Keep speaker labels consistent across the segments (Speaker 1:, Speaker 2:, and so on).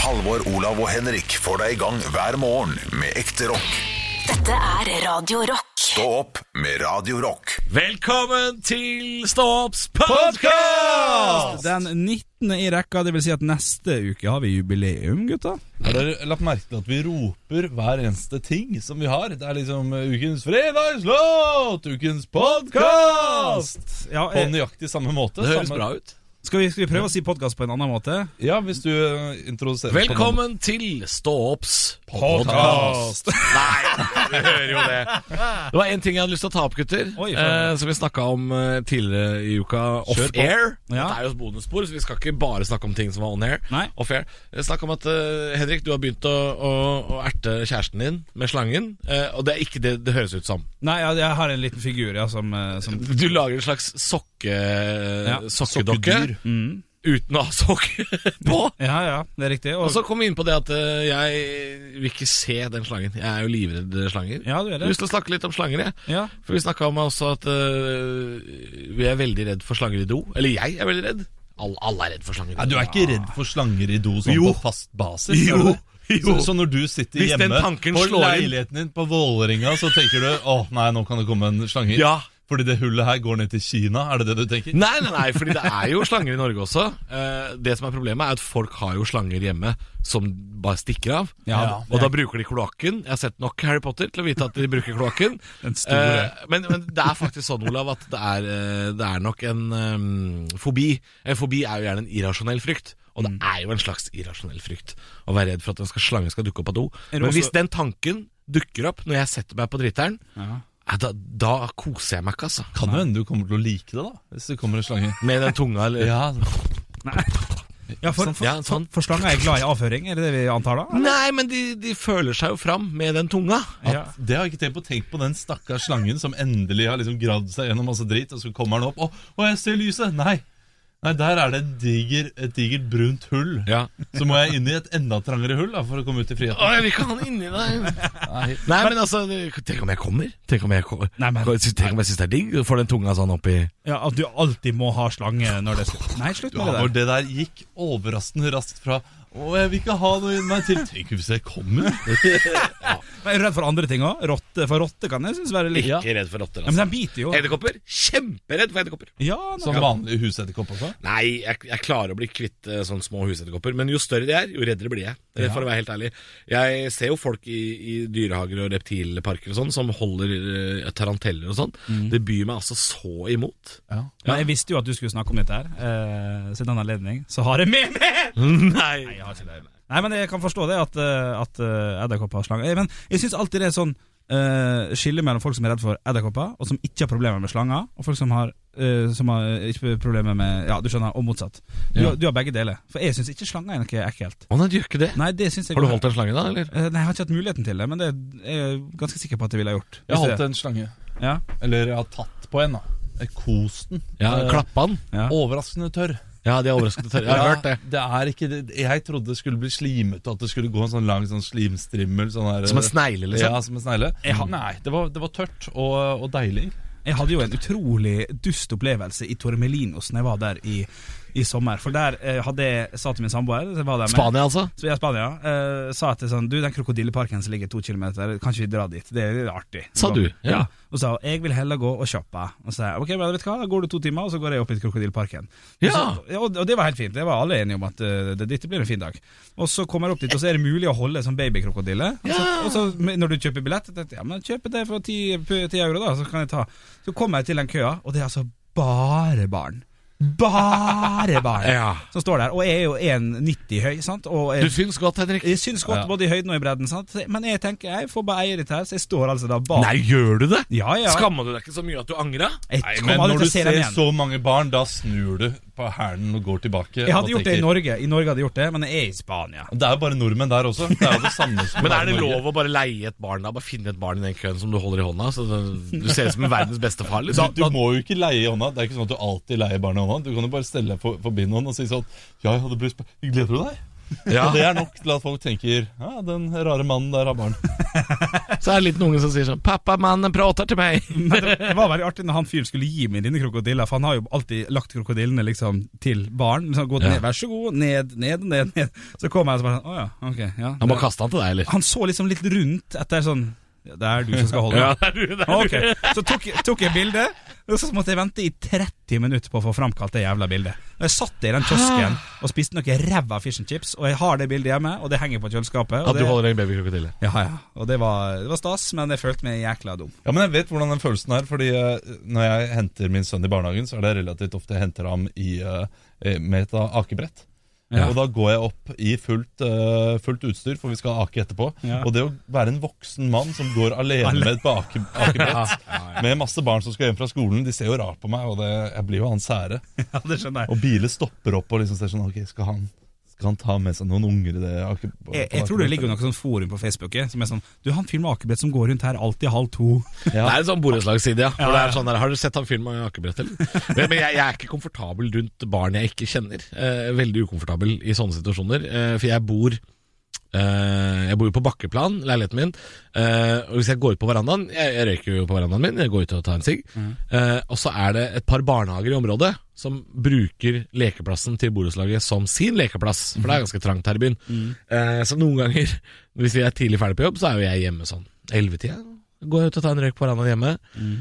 Speaker 1: Halvor, Olav og Henrik får deg i gang hver morgen med ekte rock.
Speaker 2: Dette er Radio Rock.
Speaker 1: Stå opp med Radio Rock.
Speaker 3: Velkommen til Ståopps podkast!
Speaker 4: Den 19. i rekka, det vil si at neste uke har vi
Speaker 3: Mm,
Speaker 4: jubileum, gutta.
Speaker 5: Har dere lagt merke til at vi roper hver eneste ting som vi har? Det er liksom eh, ukens fredagslåt, ukens podkast!
Speaker 4: Ja,
Speaker 5: På
Speaker 4: eh,
Speaker 5: nøyaktig samme måte.
Speaker 3: Det høres
Speaker 5: samme-
Speaker 3: bra ut.
Speaker 4: skal, vi, skal vi prøve å si podkast på en annen måte?
Speaker 5: Ja, hvis du eh, introduserer på den-
Speaker 3: Velkommen til Ståopps podcast.
Speaker 5: Podcast.
Speaker 3: Nei, du hører jo det. Det var én ting jeg hadde lyst til å ta opp, gutter.
Speaker 4: Oi,
Speaker 3: eh,
Speaker 4: faen.
Speaker 3: som vi snakka om eh, tidligere i uka
Speaker 5: Kjør på.
Speaker 3: off-air. Det
Speaker 4: Ja.
Speaker 3: er jo et bonusspor, så vi skal ikke bare snakke om ting som var on-air.
Speaker 4: Nei.
Speaker 3: Off-air Eh, Snakk om at eh, Henrik, du har begynt å, å, å erte kjæresten din med slangen. eh, og det er ikke det det høres ut som.
Speaker 4: Nei, jeg, jeg har en liten figur, ja, som, eh, som
Speaker 3: Du lager en slags sokke, eh, sokkedokke
Speaker 5: Sokkedyr.
Speaker 4: mm.
Speaker 3: uten å ha sokker på.
Speaker 4: Ja, ja, det er riktig.
Speaker 3: Og
Speaker 4: Og,
Speaker 3: så kom vi inn på det at eh, jeg vil ikke se den slangen. Jeg er jo livredd slanger.
Speaker 4: ja, du
Speaker 3: Jeg
Speaker 4: er
Speaker 3: har
Speaker 4: det.
Speaker 3: lyst til å snakke litt om slanger, jeg.
Speaker 4: Ja.
Speaker 3: For vi snakka om også at eh, vi er veldig redd for slanger i do. Eller jeg er veldig redd. Alle, alle er redd for slanger i do.
Speaker 5: Nei, du er ikke redd for slanger i do sånn
Speaker 3: Jo.
Speaker 5: på fast basis? er
Speaker 3: Jo,
Speaker 5: du det?
Speaker 3: jo.
Speaker 5: Så, så når du sitter
Speaker 3: Hvis den
Speaker 5: hjemme
Speaker 3: tanken
Speaker 5: på
Speaker 3: slår inn.
Speaker 5: leiligheten din på Vålerenga, så tenker du åh nei, nå kan det komme en slange inn?
Speaker 3: Ja.
Speaker 5: Fordi det hullet her går ned til Kina, er det det du tenker?
Speaker 3: Nei, nei, nei, fordi det er jo slanger i Norge også. Eh, det som er problemet, er at folk har jo slanger hjemme som bare stikker av.
Speaker 4: Ja,
Speaker 3: og da bruker de kloakken. Jeg har sett nok Harry Potter til å vite at de bruker kloakken.
Speaker 4: Den store.
Speaker 3: Eh, men, men det er faktisk sånn, Olav, at det er, eh, det er nok en eh, fobi. En fobi er jo gjerne en irrasjonell frykt. Og det er jo en slags irrasjonell frykt å være redd for at en skal- slange skal dukke opp av do.
Speaker 4: Er det
Speaker 3: Men
Speaker 4: også-
Speaker 3: hvis den tanken dukker opp når jeg setter meg på driteren,
Speaker 4: Ja.
Speaker 3: eh, da, da koser jeg meg ikke, altså.
Speaker 5: Kan jo hende du kommer til å like det, da. Hvis det kommer en slange.
Speaker 3: Med den tunga eller
Speaker 5: Ja,
Speaker 4: Ja, for, for,
Speaker 3: Ja, sånn.
Speaker 4: for slanger er glad i avføring, er det det vi antar da?
Speaker 3: Nei, men de, de føler seg jo fram med den tunga.
Speaker 5: At,
Speaker 4: Ja.
Speaker 5: Det har jeg ikke tenkt på. Tenk på den stakkars slangen som endelig har liksom gravd seg gjennom masse dritt, og så kommer den opp. Å, å, jeg ser lyset! Nei! Nei, Der er det et diger- et digert brunt hull.
Speaker 3: Ja.
Speaker 5: Så må jeg inn i et enda trangere hull da, for å komme ut i
Speaker 3: Å,
Speaker 5: friheten.
Speaker 3: jeg vil ikke ha den inni deg.
Speaker 5: Nei.
Speaker 3: Nei, men altså, tenk om jeg kommer? Tenk om jeg, ko-
Speaker 4: Nei, men-
Speaker 3: tenk om jeg syns det er digg? Du Får den tunga sånn oppi
Speaker 4: Ja, At du alltid må ha slange når det skal Nei, slutt
Speaker 5: Ja,
Speaker 4: med
Speaker 5: hvor
Speaker 4: det der.
Speaker 5: det der gikk overraskende raskt fra å, jeg vil ikke ha noe inni meg til Tenk hvis jeg kommer!
Speaker 4: Men er du redd for andre ting òg? Rotte? For rotte kan jeg synes være litt
Speaker 3: Ikke redd for rotter,
Speaker 4: Ja, Men
Speaker 3: altså.
Speaker 4: den biter jo.
Speaker 3: Edderkopper? Kjemperedd for edderkopper.
Speaker 4: Ja,
Speaker 5: Som
Speaker 4: nei.
Speaker 5: vanlig husetterkopp også.
Speaker 3: Nei, jeg, jeg klarer å bli kvitt eh, sånne små husetterkopper. Men jo større de er, jo reddere blir jeg. Eh, For å være helt ærlig. Jeg ser jo folk i, i dyrehager og reptilparker og sånn som holder eh, taranteller og sånn.
Speaker 4: Mm.
Speaker 3: Det byr meg altså så imot.
Speaker 5: Ja.
Speaker 4: Men jeg visste jo at du skulle snakke om dette her, eh, så i den anledning så har jeg med meg!
Speaker 3: Nei.
Speaker 4: Nei, jeg har ikke det. Nei, men jeg kan forstå det, at, eh, at eh, edderkopper har slange. Eh, Men jeg syns alltid det er sånn eh, skille mellom folk som er redd for edderkopper, og som ikke har problemer med slanger, og folk som har eh, som har eh, ikke problemer med Ja, du skjønner, og motsatt. Du, har- du har begge deler. For jeg syns ikke slanger er noe ekkelt.
Speaker 3: Å nei, du gjør ikke det?
Speaker 4: Nei, det synes jeg
Speaker 3: Har du holdt en slange da, eller?
Speaker 4: Eh, Nei, Jeg har ikke hatt muligheten til det, men det er jeg ganske sikker på at jeg ville ha gjort.
Speaker 5: Jeg har
Speaker 4: Hvis
Speaker 5: holdt en slange.
Speaker 4: Ja,
Speaker 5: Eller jeg har tatt på en, da. Jeg Kost den.
Speaker 3: Ja,
Speaker 5: Eh,
Speaker 3: Klappa han?
Speaker 4: ja.
Speaker 5: Overraskende tørr.
Speaker 3: Ja, de er overraskende tørre. Jeg har hørt det.
Speaker 5: er ikke det. Jeg trodde det skulle bli slimete, at det skulle gå en sånn lang sånn slimstrimmel. Sånn her,
Speaker 3: Som en snegle, liksom.
Speaker 5: Ja, som en snegle. Nei, det var, det var tørt og, og deilig.
Speaker 4: Jeg hadde jo en utrolig dust opplevelse i Tormelinos når jeg var der i, i sommer. For der eh, hadde jeg sa til min samboer så jeg var der med,
Speaker 3: Spania, altså.
Speaker 4: Så jeg er i Spania, eh, sa at det sånn, du, den krokodilleparken som ligger to kilometer, kan ikke vi dra dit? Det er litt artig.
Speaker 3: Sa du?
Speaker 4: Ja.
Speaker 3: Ja.
Speaker 4: Og sa hun, jeg vil heller gå og shoppe. Og sa jeg, ok, men vet du hva, da går du to timer, og så går jeg opp i krokodilleparken. Og
Speaker 3: Ja.
Speaker 4: Så, ja, og, og det var helt fint, det var alle enige om at eh, det, dette blir en fin dag. Og så kommer jeg opp dit, og så er det mulig å holde sånn babykrokodille. Og så, og så med- når du kjøper billett, tenkte jeg, ja, men kjøp det for 10, p- 10 euro da, så kan jeg ta. Så kommer jeg til den køa, og det er altså bare barn. Bare barn
Speaker 3: Ja.
Speaker 4: Som står der Og jeg er jo 1,90 høy sant? Og er
Speaker 3: Du syns godt, Henrik.
Speaker 4: jeg syns godt
Speaker 5: Ja.
Speaker 4: både i høyden og i bredden, sant? men jeg tenker jeg får bare eie dette her, så jeg står altså da bak.
Speaker 3: Nei, gjør du det?
Speaker 4: Ja, ja.
Speaker 3: Skamma du deg ikke så mye at du angra?
Speaker 4: Jeg
Speaker 5: Nei, men
Speaker 4: kommer aldri
Speaker 5: når du
Speaker 4: til å se
Speaker 5: ser
Speaker 4: dem igjen.
Speaker 5: så mange barn, da snur du på hælen og går tilbake.
Speaker 4: Jeg
Speaker 5: og
Speaker 4: hadde gjort det i
Speaker 5: tenker-
Speaker 4: Norge, I Norge hadde jeg gjort det, men jeg er i Spania.
Speaker 5: Det er jo bare nordmenn der også. Det er jo det samme som
Speaker 3: Men er
Speaker 5: i
Speaker 3: det
Speaker 5: Norge.
Speaker 3: lov å bare leie et barn da? Bare finne et barn i den køen som du holder i hånda? Så det- du ser ut som en verdens beste far.
Speaker 5: Du,
Speaker 3: Liksom.
Speaker 5: du må jo ikke leie i hånda. Det er ikke sånn at du alltid leier barn i hånda. Du kan jo bare stelle deg for- forbi noen og si sånn Ja, jeg hadde blitt sp- Gleder du deg?
Speaker 3: Ja.
Speaker 5: Og det er nok til at folk tenker ja, den rare mannen der har barn.
Speaker 3: Så er det en liten unge som sier sånn 'Pappa, mannen prater til meg'.
Speaker 4: Men det det var veldig artig når han fyren skulle gi meg denne krokodilla, for han har jo alltid lagt krokodillene liksom til barn. Liksom, gått
Speaker 3: Ja.
Speaker 4: ned, Vær så god, ned, ned, ned. ned Så kom jeg og så bare sånn, Å ja, ok. Ja.
Speaker 3: Han bare kasta den til deg, eller?
Speaker 4: Han så liksom litt rundt etter sånn ja, Det er du som skal holde den.
Speaker 3: det er du, det
Speaker 4: Ok, Så tok, jeg- tok jeg bildet, og så måtte jeg vente i 30 minutter på å få framkalt det jævla bildet. Og Jeg satt i den kiosken og spiste noe ræva fish and chips, og jeg har det bildet hjemme, og det henger på kjøleskapet. Og
Speaker 3: At du
Speaker 4: det,
Speaker 3: holder en babykrokodille.
Speaker 4: ja, ja, og det, var, det var stas, men jeg følte meg jækla dum.
Speaker 5: Ja, men jeg vet hvordan den følelsen er, fordi eh, når jeg henter min sønn i barnehagen, så er det relativt ofte jeg henter ham i, eh, eh, med et akebrett.
Speaker 4: Ja.
Speaker 5: Og da går jeg opp i fullt, eh, fullt utstyr, for vi skal ake etterpå.
Speaker 4: Ja.
Speaker 5: Og det å være en voksen mann som går alene med et bake, akebrett, med masse barn som skal hjem fra skolen, de ser jo rart på meg, og det, jeg blir jo hans ære.
Speaker 4: Ja, det skjønner jeg.
Speaker 5: Og biler stopper opp og liksom ser sånn Ok, skal han, skal han ta med seg noen unger i det ake-
Speaker 4: Jeg, jeg tror det ligger noe sånn forum på Facebook eh, som er sånn Du, han fyren med akebrett som går rundt her alltid halv to.
Speaker 5: Ja.
Speaker 3: Det er en sånn borettslagsside, ja. Hvor det er sånn der, har dere sett han fyren med akebrett, eller? Men, men jeg, jeg er ikke komfortabel rundt barn jeg ikke kjenner. Eh, veldig ukomfortabel i sånne situasjoner. Eh, for jeg bor eh, jeg bor jo på bakkeplan, leiligheten min. Eh, og hvis jeg går ut på verandaen jeg, jeg røyker jo på verandaen min, jeg går ut og tar en sigg. Eh, og så er det et par barnehager i området som bruker lekeplassen til borettslaget som sin lekeplass. For det er ganske trangt her i byen. Eh, så noen ganger, hvis vi er tidlig ferdig på jobb, så er jo jeg hjemme sånn 11-tida går jeg ut og tar en røyk på verandaen hjemme,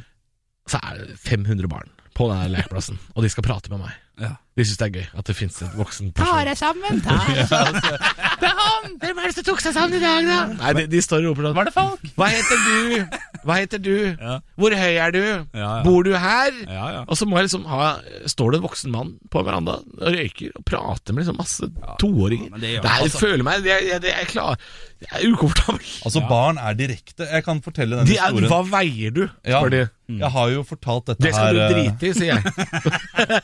Speaker 3: så er det 500 barn på den lekeplassen, og de skal prate med meg.
Speaker 4: Ja.
Speaker 3: De syns det er gøy at det fins en voksen person. Ta deg sammen, ta deg sammen! Hvem er det som tok seg sammen i dag, da? Nei, De, de står og roper sånn Var det folk? Hva heter du? Hva heter du?
Speaker 4: Ja.
Speaker 3: Hvor høy er du?
Speaker 4: Ja, ja.
Speaker 3: Bor du her?
Speaker 4: Ja, ja.
Speaker 3: Og så må jeg liksom ha Står det en voksen mann på verandaen og røyker og prater med liksom masse toåringer?
Speaker 4: men det gjør altså-
Speaker 3: Nei,
Speaker 4: det,
Speaker 3: jeg føler meg Jeg, jeg, jeg, er klar Jeg er ukomfortabel.
Speaker 5: Altså, barn er direkte. Jeg kan fortelle denne
Speaker 3: De er,
Speaker 5: historien.
Speaker 3: hva veier du?
Speaker 5: Ja, Mm.
Speaker 3: spør de.
Speaker 5: Jeg har jo fortalt dette
Speaker 3: Det skal
Speaker 5: her
Speaker 3: du
Speaker 5: eh,
Speaker 3: drite i, sier jeg.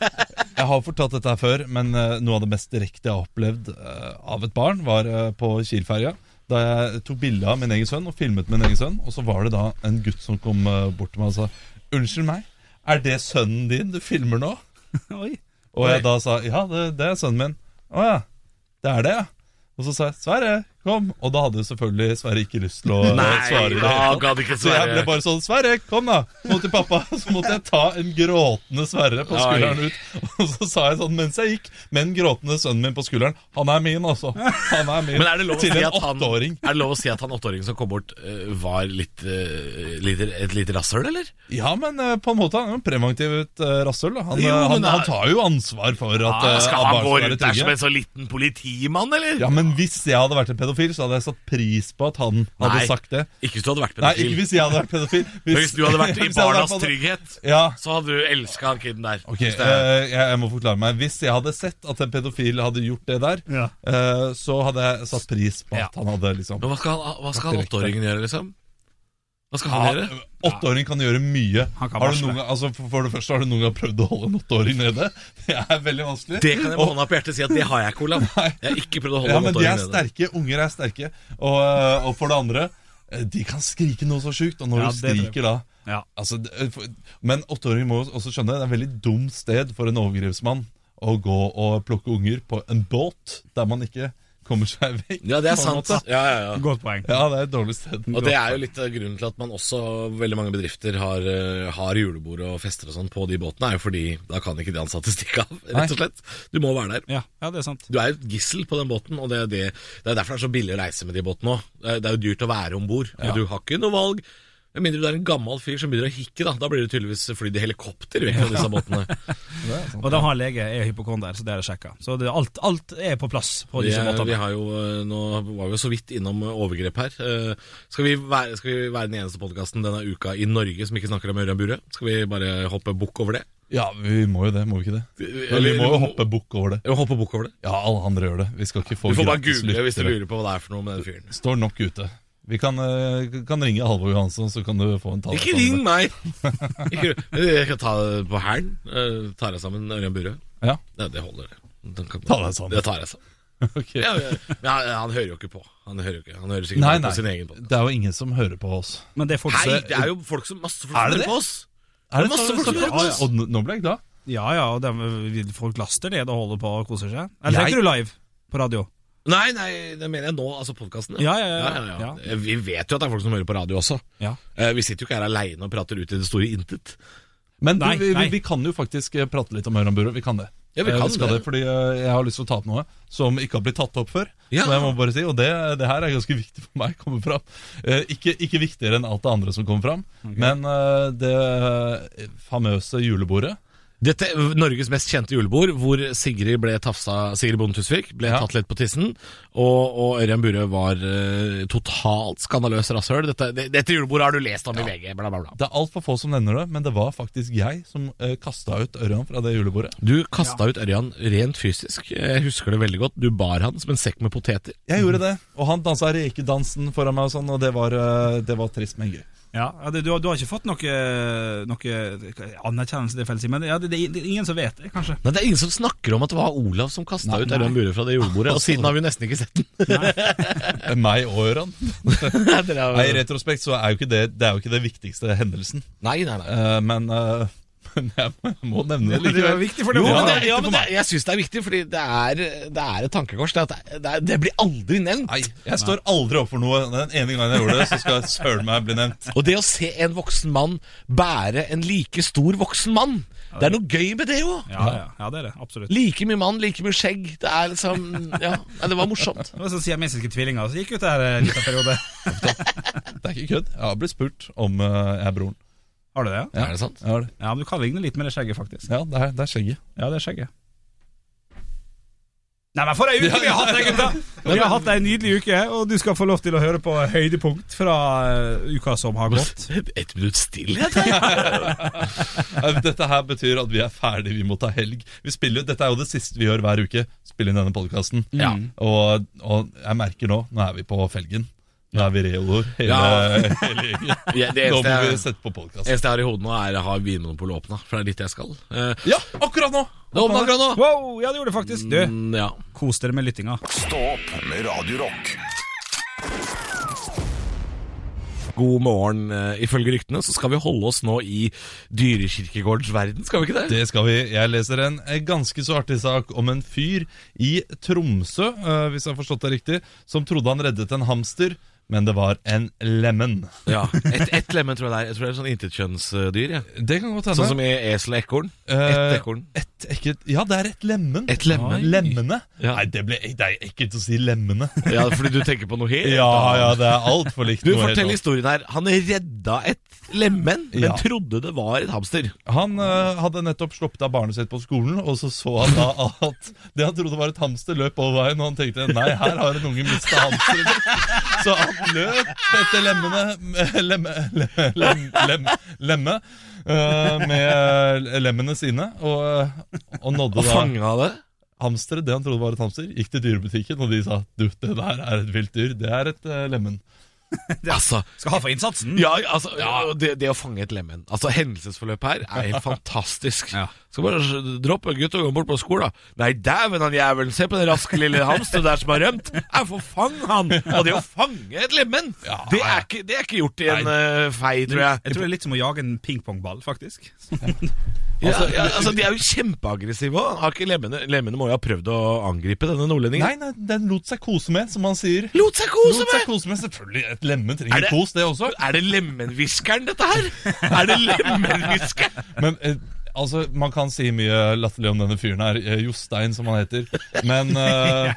Speaker 5: Jeg har fortalt dette her før, men eh, noe av det mest direkte jeg har opplevd eh, av et barn, var eh, på Kielferja. Da jeg tok bilde av min egen sønn og filmet min egen sønn. Og så var det da en gutt som kom eh, bort til meg og sa Unnskyld meg, er det sønnen din du filmer nå?
Speaker 4: Oi.
Speaker 5: Og jeg da sa ja, det, det er sønnen min. Å ja, det er det, ja. Og så sa jeg Sverre, kom. Og da hadde jo selvfølgelig Sverre ikke lyst til å eh, svare. i det hele tatt.
Speaker 3: gadd ikke
Speaker 5: Så jeg ble bare sånn Sverre, kom da! Mot til pappa. Så måtte jeg ta en gråtende Sverre på skulderen ut. Og så sa jeg sånn mens jeg gikk, med den gråtende sønnen min på skulderen Han er min, altså. Han er min.
Speaker 3: Men er det lov å
Speaker 5: til
Speaker 3: si
Speaker 5: en
Speaker 3: at han
Speaker 5: åtteåring.
Speaker 3: Er det lov å si at han åtteåringen som kom bort, eh, var litt, eh, litt et lite rasshøl, eller?
Speaker 5: Ja, men eh, på en måte han er jo en preventivt eh, rasshøl. da. Han,
Speaker 3: Jo,
Speaker 5: eh,
Speaker 3: men
Speaker 5: han,
Speaker 3: det er-
Speaker 5: han tar jo ansvar for at,
Speaker 3: Ah,
Speaker 5: eh, at barn skal være trygge.
Speaker 3: så liten politimann, eller?
Speaker 5: Ja, men hvis jeg hadde vært en pedofil, så hadde jeg satt pris på at han hadde
Speaker 3: Nei.
Speaker 5: sagt det.
Speaker 3: Ikke hvis du hadde vært
Speaker 5: Nei,
Speaker 3: pedofil.
Speaker 5: ikke hvis jeg hadde vært pedofil.
Speaker 3: Men hvis du hadde vært i
Speaker 5: hvis jeg hadde
Speaker 3: Barnas
Speaker 5: vært-
Speaker 3: Trygghet,
Speaker 5: Ja,
Speaker 3: så hadde du elska han kiden der.
Speaker 5: Ok,
Speaker 3: Hvis det er-
Speaker 5: eh, jeg, jeg må forklare meg Hvis jeg hadde sett at en pedofil hadde gjort det der
Speaker 4: Ja.
Speaker 5: eh, Så hadde jeg satt pris på at
Speaker 4: Ja.
Speaker 5: han hadde liksom
Speaker 3: Men hva skal, han, hva skal han
Speaker 5: Direkte.
Speaker 3: åtteåringen gjøre, liksom? Hva skal han
Speaker 5: Ja,
Speaker 3: gjøre?
Speaker 5: Åtteåring kan gjøre mye
Speaker 4: Han kan
Speaker 5: har du
Speaker 4: varsle.
Speaker 5: noen, gang- altså, for, for det første har du noen gang prøvd å holde en åtteåring nede Det er veldig vanskelig
Speaker 3: Det kan jeg med
Speaker 5: Og-
Speaker 3: hånda på hjertet si at det har jeg ikke, Olav.
Speaker 5: Nei.
Speaker 3: Jeg har ikke prøvd å holde
Speaker 5: Ja, men de er
Speaker 3: åtteåringen nede.
Speaker 5: sterke, unger er sterke Og, eh, og for det andre eh, De kan skrike noe så sykt Og når
Speaker 4: Ja,
Speaker 5: du
Speaker 4: det tror jeg.
Speaker 5: skriker da
Speaker 4: Ja.
Speaker 5: altså, det- eh, for- Men åtteåringer må også skjønne Det er et veldig dumt sted for en overgrepsmann Å gå og plukke unger på en båt Der man ikke kommer seg vekk
Speaker 3: Ja, det er
Speaker 5: på en
Speaker 3: sant.
Speaker 5: måte.
Speaker 3: Ja, ja, ja.
Speaker 4: Godt poeng.
Speaker 5: Ja, det er et dårlig sted.
Speaker 3: Og det er jo litt av grunnen til at man også veldig mange bedrifter har, eh, har julebord og fester og sånn på de båtene, er jo fordi da kan ikke de ansatte stikke av, rett og slett. Du må være der.
Speaker 4: Ja, ja, det er sant.
Speaker 3: Du er jo et gissel på den båten, og det er, det, det er derfor det er så billig å reise med de båtene òg. Det er- det er jo dyrt å være om bord, og du har ikke noe valg. Med mindre du er en gammel fyr som begynner å hikke, da. Da blir det tydeligvis flydd i helikopter vekk fra disse båtene.
Speaker 4: Og de har lege, jeg er hypokonder, så det har jeg sjekka. Så det, alt, alt er på plass på
Speaker 3: Vi,
Speaker 4: disse
Speaker 3: er, vi
Speaker 4: båtene.
Speaker 3: har jo, eh, nå var vi jo så vidt innom eh, overgrep her. Eh, Skal vi være, skal vi være den eneste podkasten denne uka i Norge som ikke snakker om Ørjan Burøe? Skal vi bare hoppe bukk over det?
Speaker 5: Ja, vi må jo det, må vi ikke det? Eller, vi må jo hoppe bukk over det.
Speaker 3: Jo, hoppe bukk over det.
Speaker 5: Ja, alle andre gjør det. Vi skal ikke få
Speaker 3: Du får bare
Speaker 5: gratis
Speaker 3: google hvis du
Speaker 5: lyttere.
Speaker 3: lurer på hva det er for noe med den fyren.
Speaker 5: Det Står nok ute. Vi kan, eh, kan ringe Halvor Johansson, så kan du få en tale.
Speaker 3: Ikke ring meg! Ikke, jeg kan ta det på hælen. Eh, Ta deg sammen, Ørjan Burøe.
Speaker 5: Ja.
Speaker 3: Nei, det holder, det. Den kan-
Speaker 5: Ta deg sammen.
Speaker 3: Det tar jeg sammen.
Speaker 5: Ok.
Speaker 3: Ja, ja. Men han, han hører jo ikke på. Han hører, jo ikke. Han hører sikkert
Speaker 5: Nei,
Speaker 3: bare
Speaker 5: nei.
Speaker 3: på sin egen podkast.
Speaker 5: Det er jo ingen som hører på oss.
Speaker 4: Men det er folk
Speaker 3: Hei,
Speaker 4: som-
Speaker 3: det er jo folk som, masse folk som
Speaker 5: Er
Speaker 3: hører
Speaker 5: det det?
Speaker 3: på oss!
Speaker 5: Er
Speaker 3: det masse folk som hører på oss?
Speaker 5: Og n- nå ble jeg glad.
Speaker 4: Ja ja, og dem- folk laster ned og holder på og koser seg. Eller
Speaker 5: Jeg-
Speaker 4: tenker du live på radio?
Speaker 3: Nei, nei, det mener jeg nå, altså podkasten.
Speaker 4: Ja, ja, ja, ja.
Speaker 3: Eh, Vi vet jo at det er folk som hører på radio også.
Speaker 4: Ja.
Speaker 3: Eh, Vi sitter jo ikke her aleine og prater ut i det store intet.
Speaker 5: Men
Speaker 4: Nei,
Speaker 5: du, vi,
Speaker 4: nei.
Speaker 5: vi, vi kan jo faktisk eh, prate litt om Høranburet. Vi kan det.
Speaker 3: Ja, vi
Speaker 5: Eh,
Speaker 3: kan
Speaker 5: skal det.
Speaker 3: det.
Speaker 5: fordi eh, jeg har lyst til å ta opp noe som ikke har blitt tatt opp før.
Speaker 3: Ja.
Speaker 5: Som jeg må bare si, Og det, det her er ganske viktig for meg å komme fram. Eh, Ikke, ikke viktigere enn alt det andre som kommer fram, men eh, det eh, famøse julebordet.
Speaker 3: Dette er Norges mest kjente julebord, hvor Sigrid ble tafsa Sigrid Bonde Tusvik ble
Speaker 5: Ja.
Speaker 3: tatt litt på tissen, og, og Ørjan Burøe var eh, totalt skandaløs rasshøl. Dette, det- dette julebordet har du lest om i VG, bla, bla, bla.
Speaker 5: Det er altfor få som nevner det, men det var faktisk jeg som eh, kasta ut Ørjan fra det julebordet.
Speaker 3: Du kasta ut Ørjan rent fysisk. Jeg husker det veldig godt. Du bar han som en sekk med poteter.
Speaker 5: Jeg gjorde det, og han dansa rekedansen foran meg, og sånn Og det var, eh, det var trist, men gøy.
Speaker 4: Ja, ja, det, du, har- du har ikke fått noe, noe anerkjennelse, det er feil å si, men ja, det, det, det er ingen som vet det, kanskje.
Speaker 3: Nei, Det er ingen som snakker om at det var Olav som kasta
Speaker 4: Nei,
Speaker 3: ut
Speaker 4: nei.
Speaker 3: Ørjan Burøe fra det julebordet, og siden har vi nesten ikke sett den.
Speaker 5: Eh, Meg og Ørjan.
Speaker 3: Dere er-
Speaker 5: Nei, I retrospekt så er jo ikke det, det er jo ikke det viktigste hendelsen.
Speaker 3: nei, nei, nei.
Speaker 5: Eh, men, eh, men jeg, må, jeg må nevne det
Speaker 4: Det var
Speaker 5: likevel.
Speaker 4: viktig for
Speaker 3: Jo,
Speaker 4: det.
Speaker 3: men
Speaker 4: var-
Speaker 3: det, ja, men det, jeg syns det er viktig, fordi det er, det er et tankekors. Det, er at det, det, er- det blir aldri nevnt.
Speaker 5: Nei, jeg står aldri opp for noe. Den ene gangen jeg gjorde det, så skal søren meg bli nevnt.
Speaker 3: Og det å se en voksen mann bære en like stor voksen mann, det er noe gøy med det jo
Speaker 4: Ja, ja, ja, det er det, absolutt.
Speaker 3: Like mye mann, like mye skjegg. Det er liksom Ja, nei, det var morsomt.
Speaker 4: Det var sånn siamesiske tvillinger, så gikk ut der en liten periode.
Speaker 5: Det er ikke kødd. Jeg har blitt spurt om eh, jeg er broren.
Speaker 4: Har du det, ja?
Speaker 5: Ja.
Speaker 3: Er det sant?
Speaker 5: Jeg har det.
Speaker 4: Ja, men du kan ligne litt med det skjegget, faktisk.
Speaker 5: Ja, det er, det er skjegget.
Speaker 4: Ja, det er skjegget. Nei, men for ei uke vi har hatt, det, gutta! Vi har hatt ei nydelig uke, og du skal få lov til å høre på høydepunkt fra eh, uka som har gått.
Speaker 3: Ett minutt stillhet? her.
Speaker 5: Eh, Dette her betyr at vi er ferdig, vi må ta helg. Vi spiller, jo- dette er jo det siste vi gjør hver uke, spille inn denne podkasten.
Speaker 3: Ja.
Speaker 5: Og, og jeg merker nå, nå er vi på felgen. Nå er vi reoloer, hele,
Speaker 3: Ja.
Speaker 5: hele gjengen.
Speaker 3: Ja, det
Speaker 5: Nå må
Speaker 3: eneste
Speaker 5: vi
Speaker 3: jeg,
Speaker 5: sette på podkast.
Speaker 3: eneste jeg har i hodet nå, er å ha Vinmonopolet åpna, for det er dit jeg skal. Eh,
Speaker 5: Ja, akkurat nå!
Speaker 3: Det åpna akkurat nå!
Speaker 4: Wow, ja, det gjorde det faktisk. Du,
Speaker 3: Mm, ja.
Speaker 4: kos dere med lyttinga.
Speaker 1: Stå opp med Radio Rock.
Speaker 3: God morgen. eh, Ifølge ryktene så skal vi holde oss nå i dyrekirkegårdens verden, skal vi ikke det?
Speaker 5: Det skal vi. Jeg leser en ganske så artig sak om en fyr i Tromsø, eh, hvis jeg har forstått det riktig, som trodde han reddet en hamster, men det var en lemen.
Speaker 3: Ja. Ett et lemen tror jeg det er. Jeg tror det er et sånn intetkjønnsdyr. Ja.
Speaker 5: Det kan godt hende.
Speaker 3: Sånn som i esel og ekorn.
Speaker 5: Eh,
Speaker 3: Ett ekorn.
Speaker 5: et ekkelt, ja, det er et lemen.
Speaker 3: Et lemen.
Speaker 5: Oi. Lemmene.
Speaker 3: Ja.
Speaker 5: Nei, det, ble, det er ekkelt å si lemmene.
Speaker 3: Ja, fordi du tenker på noe helt
Speaker 5: Ja,
Speaker 3: annet.
Speaker 5: ja, det er altfor likt.
Speaker 3: Du,
Speaker 5: noe helt
Speaker 3: fortell
Speaker 5: annet.
Speaker 3: historien her. Han redda et lemen, men
Speaker 5: Ja.
Speaker 3: trodde det var et hamster.
Speaker 5: Han eh, hadde nettopp sluppet av barnet sitt på skolen, og så så han da at det han trodde var et hamster, løp over veien, og han tenkte nei, her har en unge mista hamsteren. sin». Så han løp etter lemmene eh, lemme, lemme, lem, lem, lemme eh, med eh, lemmene sine, og, eh, og nådde
Speaker 3: Og
Speaker 5: da
Speaker 3: fanga det.
Speaker 5: hamsteret, det han trodde var et hamster, gikk til dyrebutikken, og de sa du, det der er et vilt dyr, det er et eh, lemen.
Speaker 3: Altså,
Speaker 4: Skal ha for innsatsen.
Speaker 3: ja, altså ja, det, det å fange et lemen Altså, Hendelsesforløpet her er helt fantastisk.
Speaker 4: Ja.
Speaker 3: Skal bare droppe en gutt og gå bort på skolen. Nei, dæven, han jævelen! Se på den raske lille hamsteren der som har rømt! Jeg får fange han! Og det å fange et lemen, det, er ikke, det er ikke gjort i en eh, fei, tror jeg.
Speaker 4: Jeg tror det er litt som å jage en pingpongball, faktisk.
Speaker 3: Ja, ja, altså, De er jo kjempeaggressive òg. Har ikke lemmene Lemmene må jo ha prøvd å angripe denne nordlendingen.
Speaker 5: Nei, nei, den lot seg kose med, som han sier.
Speaker 3: Lot seg kose
Speaker 5: Lot seg
Speaker 3: med!
Speaker 5: kose med, selvfølgelig. Et lemen
Speaker 3: Er
Speaker 5: trenger
Speaker 3: det-
Speaker 5: kos, det også.
Speaker 3: Er det lemenhviskeren, dette her? Er det lemenhviskeren?
Speaker 5: Men eh, altså, man kan si mye latterlig om denne fyren her, eh, Jostein som han heter. Men eh,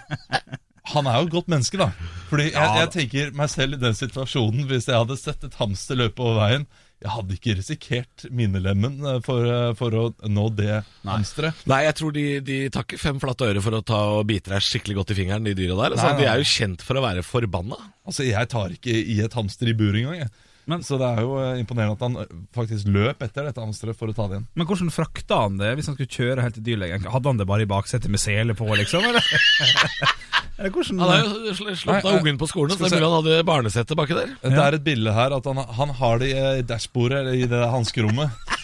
Speaker 5: han er jo et godt menneske, da. Fordi jeg, jeg tenker meg selv i den situasjonen, hvis jeg hadde sett et hamster løpe over veien. Jeg hadde ikke risikert minelemmen eh, for, eh, for å nå det hamsteret.
Speaker 3: Nei, jeg tror de, de tar ikke fem flate øre for å ta og bite deg skikkelig godt i fingeren, de dyra der. Altså,
Speaker 5: Nei, nei.
Speaker 3: De er jo kjent for å være forbanna.
Speaker 5: Altså, jeg tar ikke i et hamster i bur engang. Jeg.
Speaker 4: Men-
Speaker 5: Så det er jo eh, imponerende at han eh, faktisk løp etter dette hamsteret for å ta det igjen.
Speaker 4: Men hvordan frakta han det hvis han skulle kjøre helt til dyrlegen? Hadde han det bare i baksetet med sele på, liksom? Eller, eller hvordan
Speaker 3: Han har jo sl-
Speaker 5: Nei,
Speaker 3: slått av
Speaker 5: jeg-
Speaker 3: ungen på skolen, så
Speaker 5: skal
Speaker 3: det er
Speaker 5: vi
Speaker 3: mulig han hadde barnesette baki der.
Speaker 5: Det er et bilde her at han, han har det i eh, dashbordet, eller i det hanskerommet.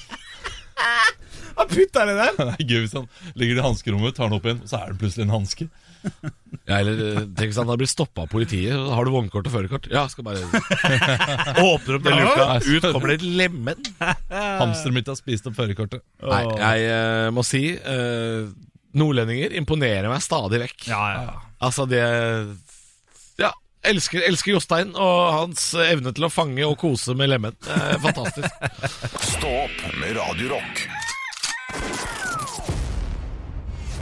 Speaker 4: Han putta det der!
Speaker 5: Det er gøy hvis han ligger i hanskerommet, tar den opp igjen, og så er det plutselig en hanske.
Speaker 3: Ja, eller eh, Tenk hvis han hadde blitt stoppa av politiet. Har du vognkort og førerkort? Ja, skal bare Åpner opp den luka, ut kommer det et lemen.
Speaker 5: Hamsteret mitt har spist opp førerkortet.
Speaker 3: Nei, jeg eh, må si eh, Nordlendinger imponerer meg stadig vekk.
Speaker 4: Ja, ja, ja.
Speaker 3: Altså, det Ja. Elsker, elsker Jostein og hans evne til å fange og kose med lemen. Det er Fantastisk.
Speaker 1: Stå opp med Radio Rock.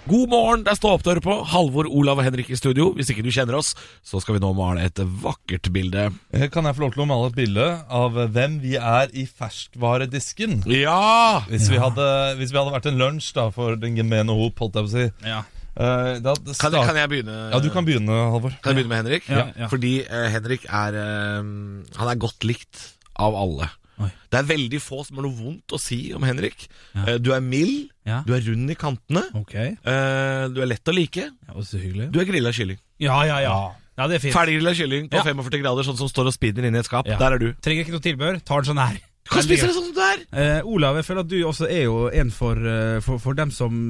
Speaker 3: God morgen, det er Stå opp dere på. Halvor, Olav og Henrik i studio. Hvis ikke du kjenner oss, så skal vi nå male et vakkert bilde.
Speaker 5: Eh, Kan jeg få lov til å male et bilde av eh, hvem vi er i ferskvaredisken?
Speaker 3: Ja!
Speaker 5: Hvis, vi hadde, hvis vi hadde vært en lunsj da, for den gemene hop, holdt jeg på å si.
Speaker 4: Ja.
Speaker 5: Eh, da hadde det
Speaker 3: Kan,
Speaker 5: start-
Speaker 3: kan jeg begynne?
Speaker 5: Ja, du kan begynne, Halvor.
Speaker 3: Kan jeg begynne med Henrik?
Speaker 4: Ja, ja.
Speaker 3: Fordi eh, Henrik er eh, Han er godt likt av alle.
Speaker 4: Oi.
Speaker 3: Det er veldig få som har noe vondt å si om Henrik. Eh, du er mild,
Speaker 4: Ja.
Speaker 3: du er rund i kantene,
Speaker 4: Ok,
Speaker 3: eh, du er lett å like.
Speaker 4: ja, og så hyggelig
Speaker 3: Du er grilla kylling.
Speaker 4: Ja, ja, ja, ja det er fint
Speaker 3: Ferdiggrilla kylling på
Speaker 4: Ja.
Speaker 3: 45 grader, sånn som står og spinner inne i et skap.
Speaker 4: Ja.
Speaker 3: Der er du.
Speaker 4: Trenger ikke noe tilbør, tar den sånn her
Speaker 3: Hva spiser du sånn som du er?
Speaker 4: Eh, Olav, jeg føler at du også er jo en for, eh, for, for dem som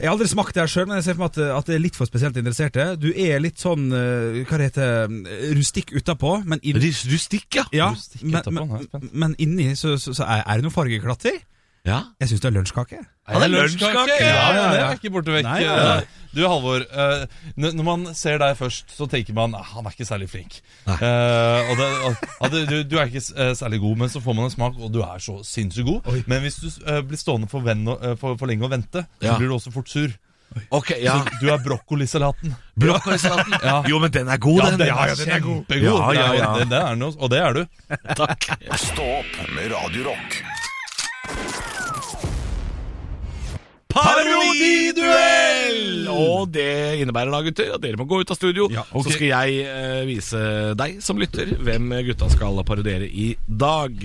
Speaker 4: Jeg har aldri smakt det her sjøl, men jeg ser for meg at, at det er litt for spesielt interesserte. Du er litt sånn eh, hva det heter rustikk utapå, men, inn,
Speaker 3: Rus- Rustikk, ja.
Speaker 4: ja,
Speaker 5: Rustikk
Speaker 4: men,
Speaker 5: utapå, nå er
Speaker 4: men,
Speaker 5: jeg spent.
Speaker 4: men inni så, så, så er, er det noe fargeklatter.
Speaker 3: ja.
Speaker 4: Jeg syns det er lunsjkake.
Speaker 3: Han er lunsjkake!
Speaker 5: Ja, ja,
Speaker 4: Ja,
Speaker 5: det
Speaker 4: ja.
Speaker 5: er ikke borte vekk.
Speaker 4: Nei, ja, ja.
Speaker 5: Du, Halvor. eh, n- Når man ser deg først, så tenker man at han er ikke særlig flink.
Speaker 3: Nei.
Speaker 5: Eh, og det, og, ja, du, du- du er ikke s- eh, særlig god, men så får man en smak, og du er så sinnssykt god. Men hvis du eh, blir stående for, venn, og- eh, for, for lenge og vente,
Speaker 3: Ja.
Speaker 5: så blir du også fort sur.
Speaker 3: Ok, ja.
Speaker 5: Du er brokkolisalaten.
Speaker 3: Brokkolisalaten. Jo, men den er god, den.
Speaker 5: Kjempegod.
Speaker 3: Ja, ja, ja.
Speaker 5: Det, det er den også, og det er du.
Speaker 3: Takk.
Speaker 1: Stå opp med Radio Rock.
Speaker 3: Parodiduell! Og det innebærer da, gutter, at dere må gå ut av studio.
Speaker 5: Ja, ok.
Speaker 3: Så skal jeg eh, vise deg som lytter hvem gutta skal parodiere i dag.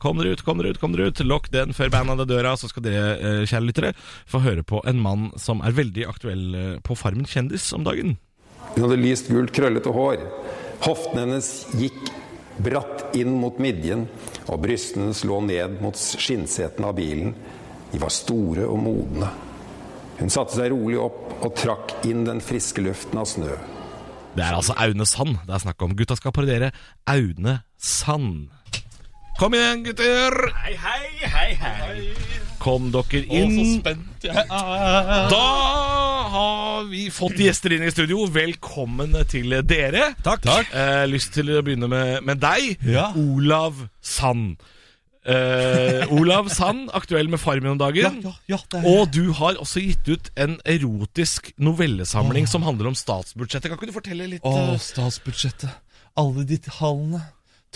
Speaker 3: Kom dere ut, kom dere ut, kom dere ut. Lokk den før bandet hadde døra, så skal dere, eh, kjære lyttere, få høre på en mann som er veldig aktuell eh, på Farmen kjendis om dagen.
Speaker 6: Hun hadde lyst gult, krøllete hår. Hoftene hennes gikk bratt inn mot midjen, og brystene hennes lå ned mot skinnsetene av bilen. De var store og modne. Hun satte seg rolig opp og trakk inn den friske luften av snø.
Speaker 3: Det er altså Aune Sand det er snakk om. Gutta skal parodiere Aune Sand. Kom igjen, gutter! Hei, hei, hei, hei. Kom dere inn.
Speaker 5: spent jeg er.
Speaker 3: Da har vi fått gjester inn i studio. Velkommen til dere.
Speaker 5: Takk. Takk.
Speaker 3: Eh, lyst til å begynne med, med deg,
Speaker 5: Ja.
Speaker 3: Olav Sand. Eh, Olav Sand, aktuell med Farmen om
Speaker 5: Ja,
Speaker 3: dagen.
Speaker 5: ja, ja, det er
Speaker 3: Og du har også gitt ut en erotisk novellesamling som handler om statsbudsjettet. Kan ikke du fortelle litt?
Speaker 5: Åh,
Speaker 3: eh,
Speaker 5: statsbudsjettet. Alle de tallene.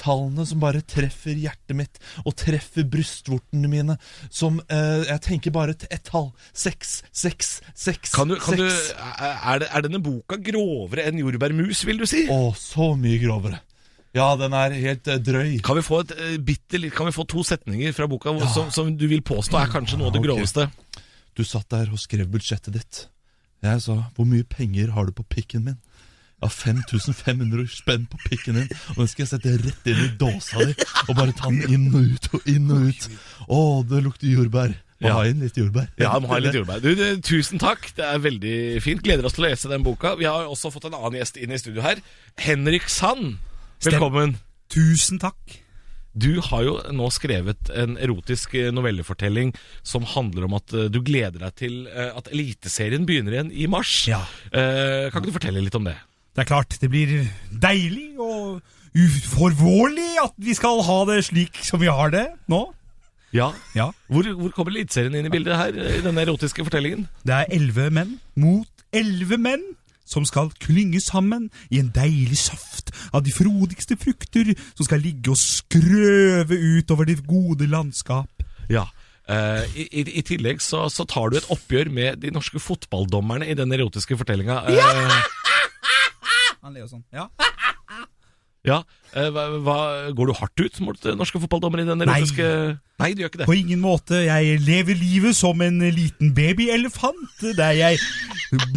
Speaker 5: Tallene som bare treffer hjertet mitt og treffer brystvortene mine. Som eh, Jeg tenker bare til ett tall. Seks, seks, seks.
Speaker 3: kan du, kan du,
Speaker 5: seks.
Speaker 3: er, det, er denne boka grovere enn jordbærmus, vil du si?
Speaker 5: Å, så mye grovere. Ja, den er helt eh, drøy.
Speaker 3: Kan vi, få et, eh, bitte, litt- kan vi få to setninger fra boka hvor- som, som du vil påstå er kanskje noe av det
Speaker 5: Ok.
Speaker 3: groveste?
Speaker 5: Du satt der og skrev budsjettet ditt. Jeg sa 'Hvor mye penger har du på pikken min?' Ja, 5500 spenn på pikken din, og den skal jeg sette rett inn i dåsa di. Og bare ta den inn og ut og inn og ut. Å, det lukter jordbær. Må
Speaker 3: Ja.
Speaker 5: ha inn litt jordbær.
Speaker 3: Ja, må ha litt jordbær. Du, du, tusen takk, det er veldig fint. Gleder oss til å lese den boka. Vi har også fått en annen gjest inn i studio her. Henrik Sand, velkommen.
Speaker 4: Tusen takk.
Speaker 3: Du har jo nå skrevet en erotisk eh, novellefortelling som handler om at eh, du gleder deg til eh, at Eliteserien begynner igjen i mars.
Speaker 4: Ja.
Speaker 3: Eh, Kan ikke du fortelle litt om det?
Speaker 7: Det er klart, det blir deilig og uforvårlig at vi skal ha det slik som vi har det nå.
Speaker 3: Ja.
Speaker 7: Ja.
Speaker 3: Hvor, hvor kommer Eliteserien inn i bildet her, eh, i denne erotiske fortellingen?
Speaker 7: Det er elleve menn mot elleve menn som skal klynge sammen i en deilig saft av de frodigste frukter som skal ligge og skrøve utover det gode landskap.
Speaker 3: Ja. Eh, i, i, I tillegg så, så tar du et oppgjør med de norske fotballdommerne i den erotiske fortellinga. Eh, ja!
Speaker 4: Han ler jo sånn. Ja.
Speaker 3: Ja, eh, hva, hva, Går du hardt ut mot eh, norske fotballdommere i den
Speaker 7: Nei.
Speaker 3: erotiske Nei, du gjør ikke
Speaker 7: På
Speaker 3: det.
Speaker 7: ingen måte. Jeg lever livet som en liten babyelefant, der jeg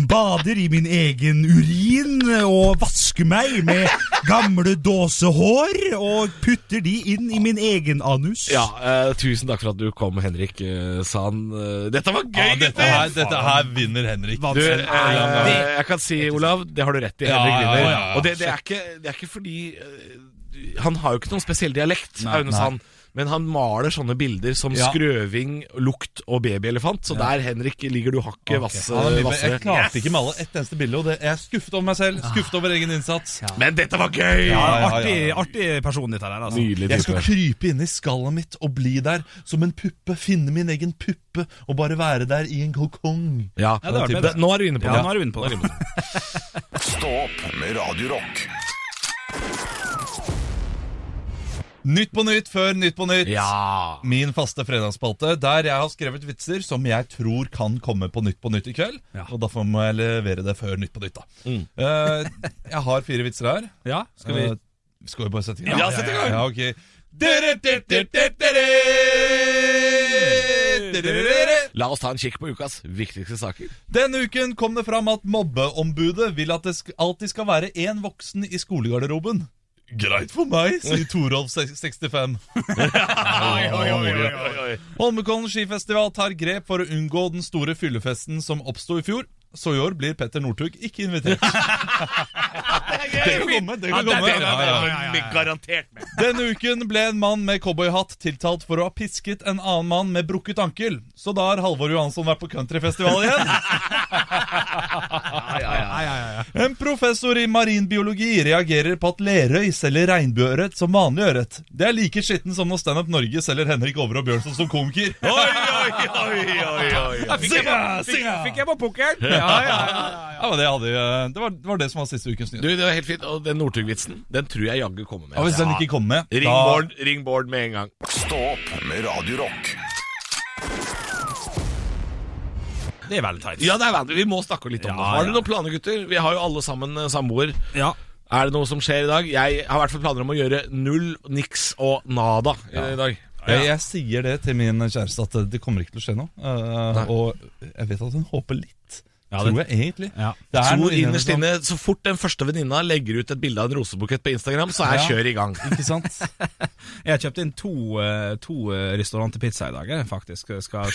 Speaker 7: bader i min egen urin og vasker meg med gamle dåsehår og putter de inn i min egen anus.
Speaker 3: Ja, eh, Tusen takk for at du kom, Henrik eh, Sand. Eh, dette var gøy!
Speaker 5: Ja, dette her, dette her vinner Henrik.
Speaker 3: Du, eh, jeg kan si, Olav, det har du rett i.
Speaker 5: Ja,
Speaker 3: Henrik
Speaker 5: ja,
Speaker 3: vinner.
Speaker 5: ja, ja.
Speaker 3: Og det, det, er ikke, det er ikke fordi eh, du- Han har jo ikke noen spesiell dialekt, Aune Sand. Men han maler sånne bilder som
Speaker 5: Ja.
Speaker 3: skrøving, lukt og babyelefant. Så der, Henrik, ligger du hakket vass-
Speaker 5: Ja, men jeg
Speaker 3: vassere.
Speaker 5: klarte ikke male ett eneste bilde, og det, jeg er skuffet over meg selv. Skuffet over egen innsats.
Speaker 3: Men dette var gøy!
Speaker 4: Ja,
Speaker 5: ja, ja, ja.
Speaker 4: Artig, artig person, dette der. Altså.
Speaker 3: Nydelig
Speaker 5: Jeg skal
Speaker 3: type.
Speaker 5: krype inn i skallet mitt og bli der som en puppe. Finne min egen puppe og bare være der i en kokong.
Speaker 3: Ja,
Speaker 4: det var
Speaker 3: det-
Speaker 4: bedre.
Speaker 3: nå er du inne på
Speaker 4: Ja,
Speaker 3: det.
Speaker 4: nå er du inne på det.
Speaker 1: Stå opp med Radio Rock.
Speaker 5: Nytt på nytt før Nytt på nytt.
Speaker 3: Ja.
Speaker 5: Min faste fredagsspalte, der jeg har skrevet vitser som jeg tror kan komme på Nytt på nytt i kveld. Og derfor må jeg levere det før Nytt på nytt, da. Eh, jeg har fire vitser her.
Speaker 4: Ja, skal vi
Speaker 5: Eh, skal vi bare sette i
Speaker 3: Ja, sett i gang.
Speaker 5: Ja, ok. Dere, dere, dere, dere, dere. Dere, dere, dere.
Speaker 3: La oss ta en kikk på ukas viktigste saker.
Speaker 5: Denne uken kom det fram at mobbeombudet vil at det sk- alltid skal være én voksen i skolegarderoben. Greit for meg, sier Torolf se- 65. Holmenkollen skifestival tar grep for å unngå den store fyllefesten som oppsto i fjor. Så i år blir Petter Northug ikke invitert. det kan komme. det kan komme. Ja, ja, ja.
Speaker 3: Garantert med.
Speaker 5: Denne uken ble en mann med cowboyhatt tiltalt for å ha pisket en annen mann med brukket ankel. Så da har Halvor Johansson vært på countryfestival igjen. En professor i marinbiologi reagerer på at Lerøy selger regnbueørret som vanlig ørret. Det er like skitten som når Standup Norge selger Henrik Over og Bjørnson som komiker.
Speaker 4: Fikk jeg bare- fikk- fikk jeg på pukkelen? Ja, ja, ja, ja, ja.
Speaker 5: Ja, men det, hadde, jo- det, var, det var det som var siste ukens
Speaker 3: Du,
Speaker 5: nyhet.
Speaker 3: det var helt fint. Og den Northug-vitsen, den tror jeg jaggu kommer med.
Speaker 5: Ja, hvis den ikke kom med,
Speaker 3: Ring Bård, ring Bård med en gang.
Speaker 1: Stå opp med Radio Rock.
Speaker 4: Det er valentines.
Speaker 3: Ja, det er vanlig. Vi må snakke litt om det. Har dere noen planer, gutter? Vi har jo alle sammen eh, samboer.
Speaker 4: Ja.
Speaker 3: Er det noe som skjer i dag? Jeg har i hvert fall planer om å gjøre null, niks og nada i i dag.
Speaker 5: Jeg, jeg sier det til min kjæreste at det kommer ikke til å skje noe. Eh, og jeg vet at hun håper litt. tror jeg egentlig.
Speaker 4: Ja.
Speaker 5: Det er noe
Speaker 3: Tror
Speaker 5: inni henne
Speaker 3: innerst
Speaker 5: som-
Speaker 3: inne, Så fort den første venninna legger ut et bilde av en rosebukett på Instagram, så er
Speaker 5: Ja.
Speaker 3: kjør i gang.
Speaker 5: Ikke sant?
Speaker 4: Jeg har kjøpt inn to, eh, to eh, restauranter pizza i dag, jeg, faktisk. Jeg skal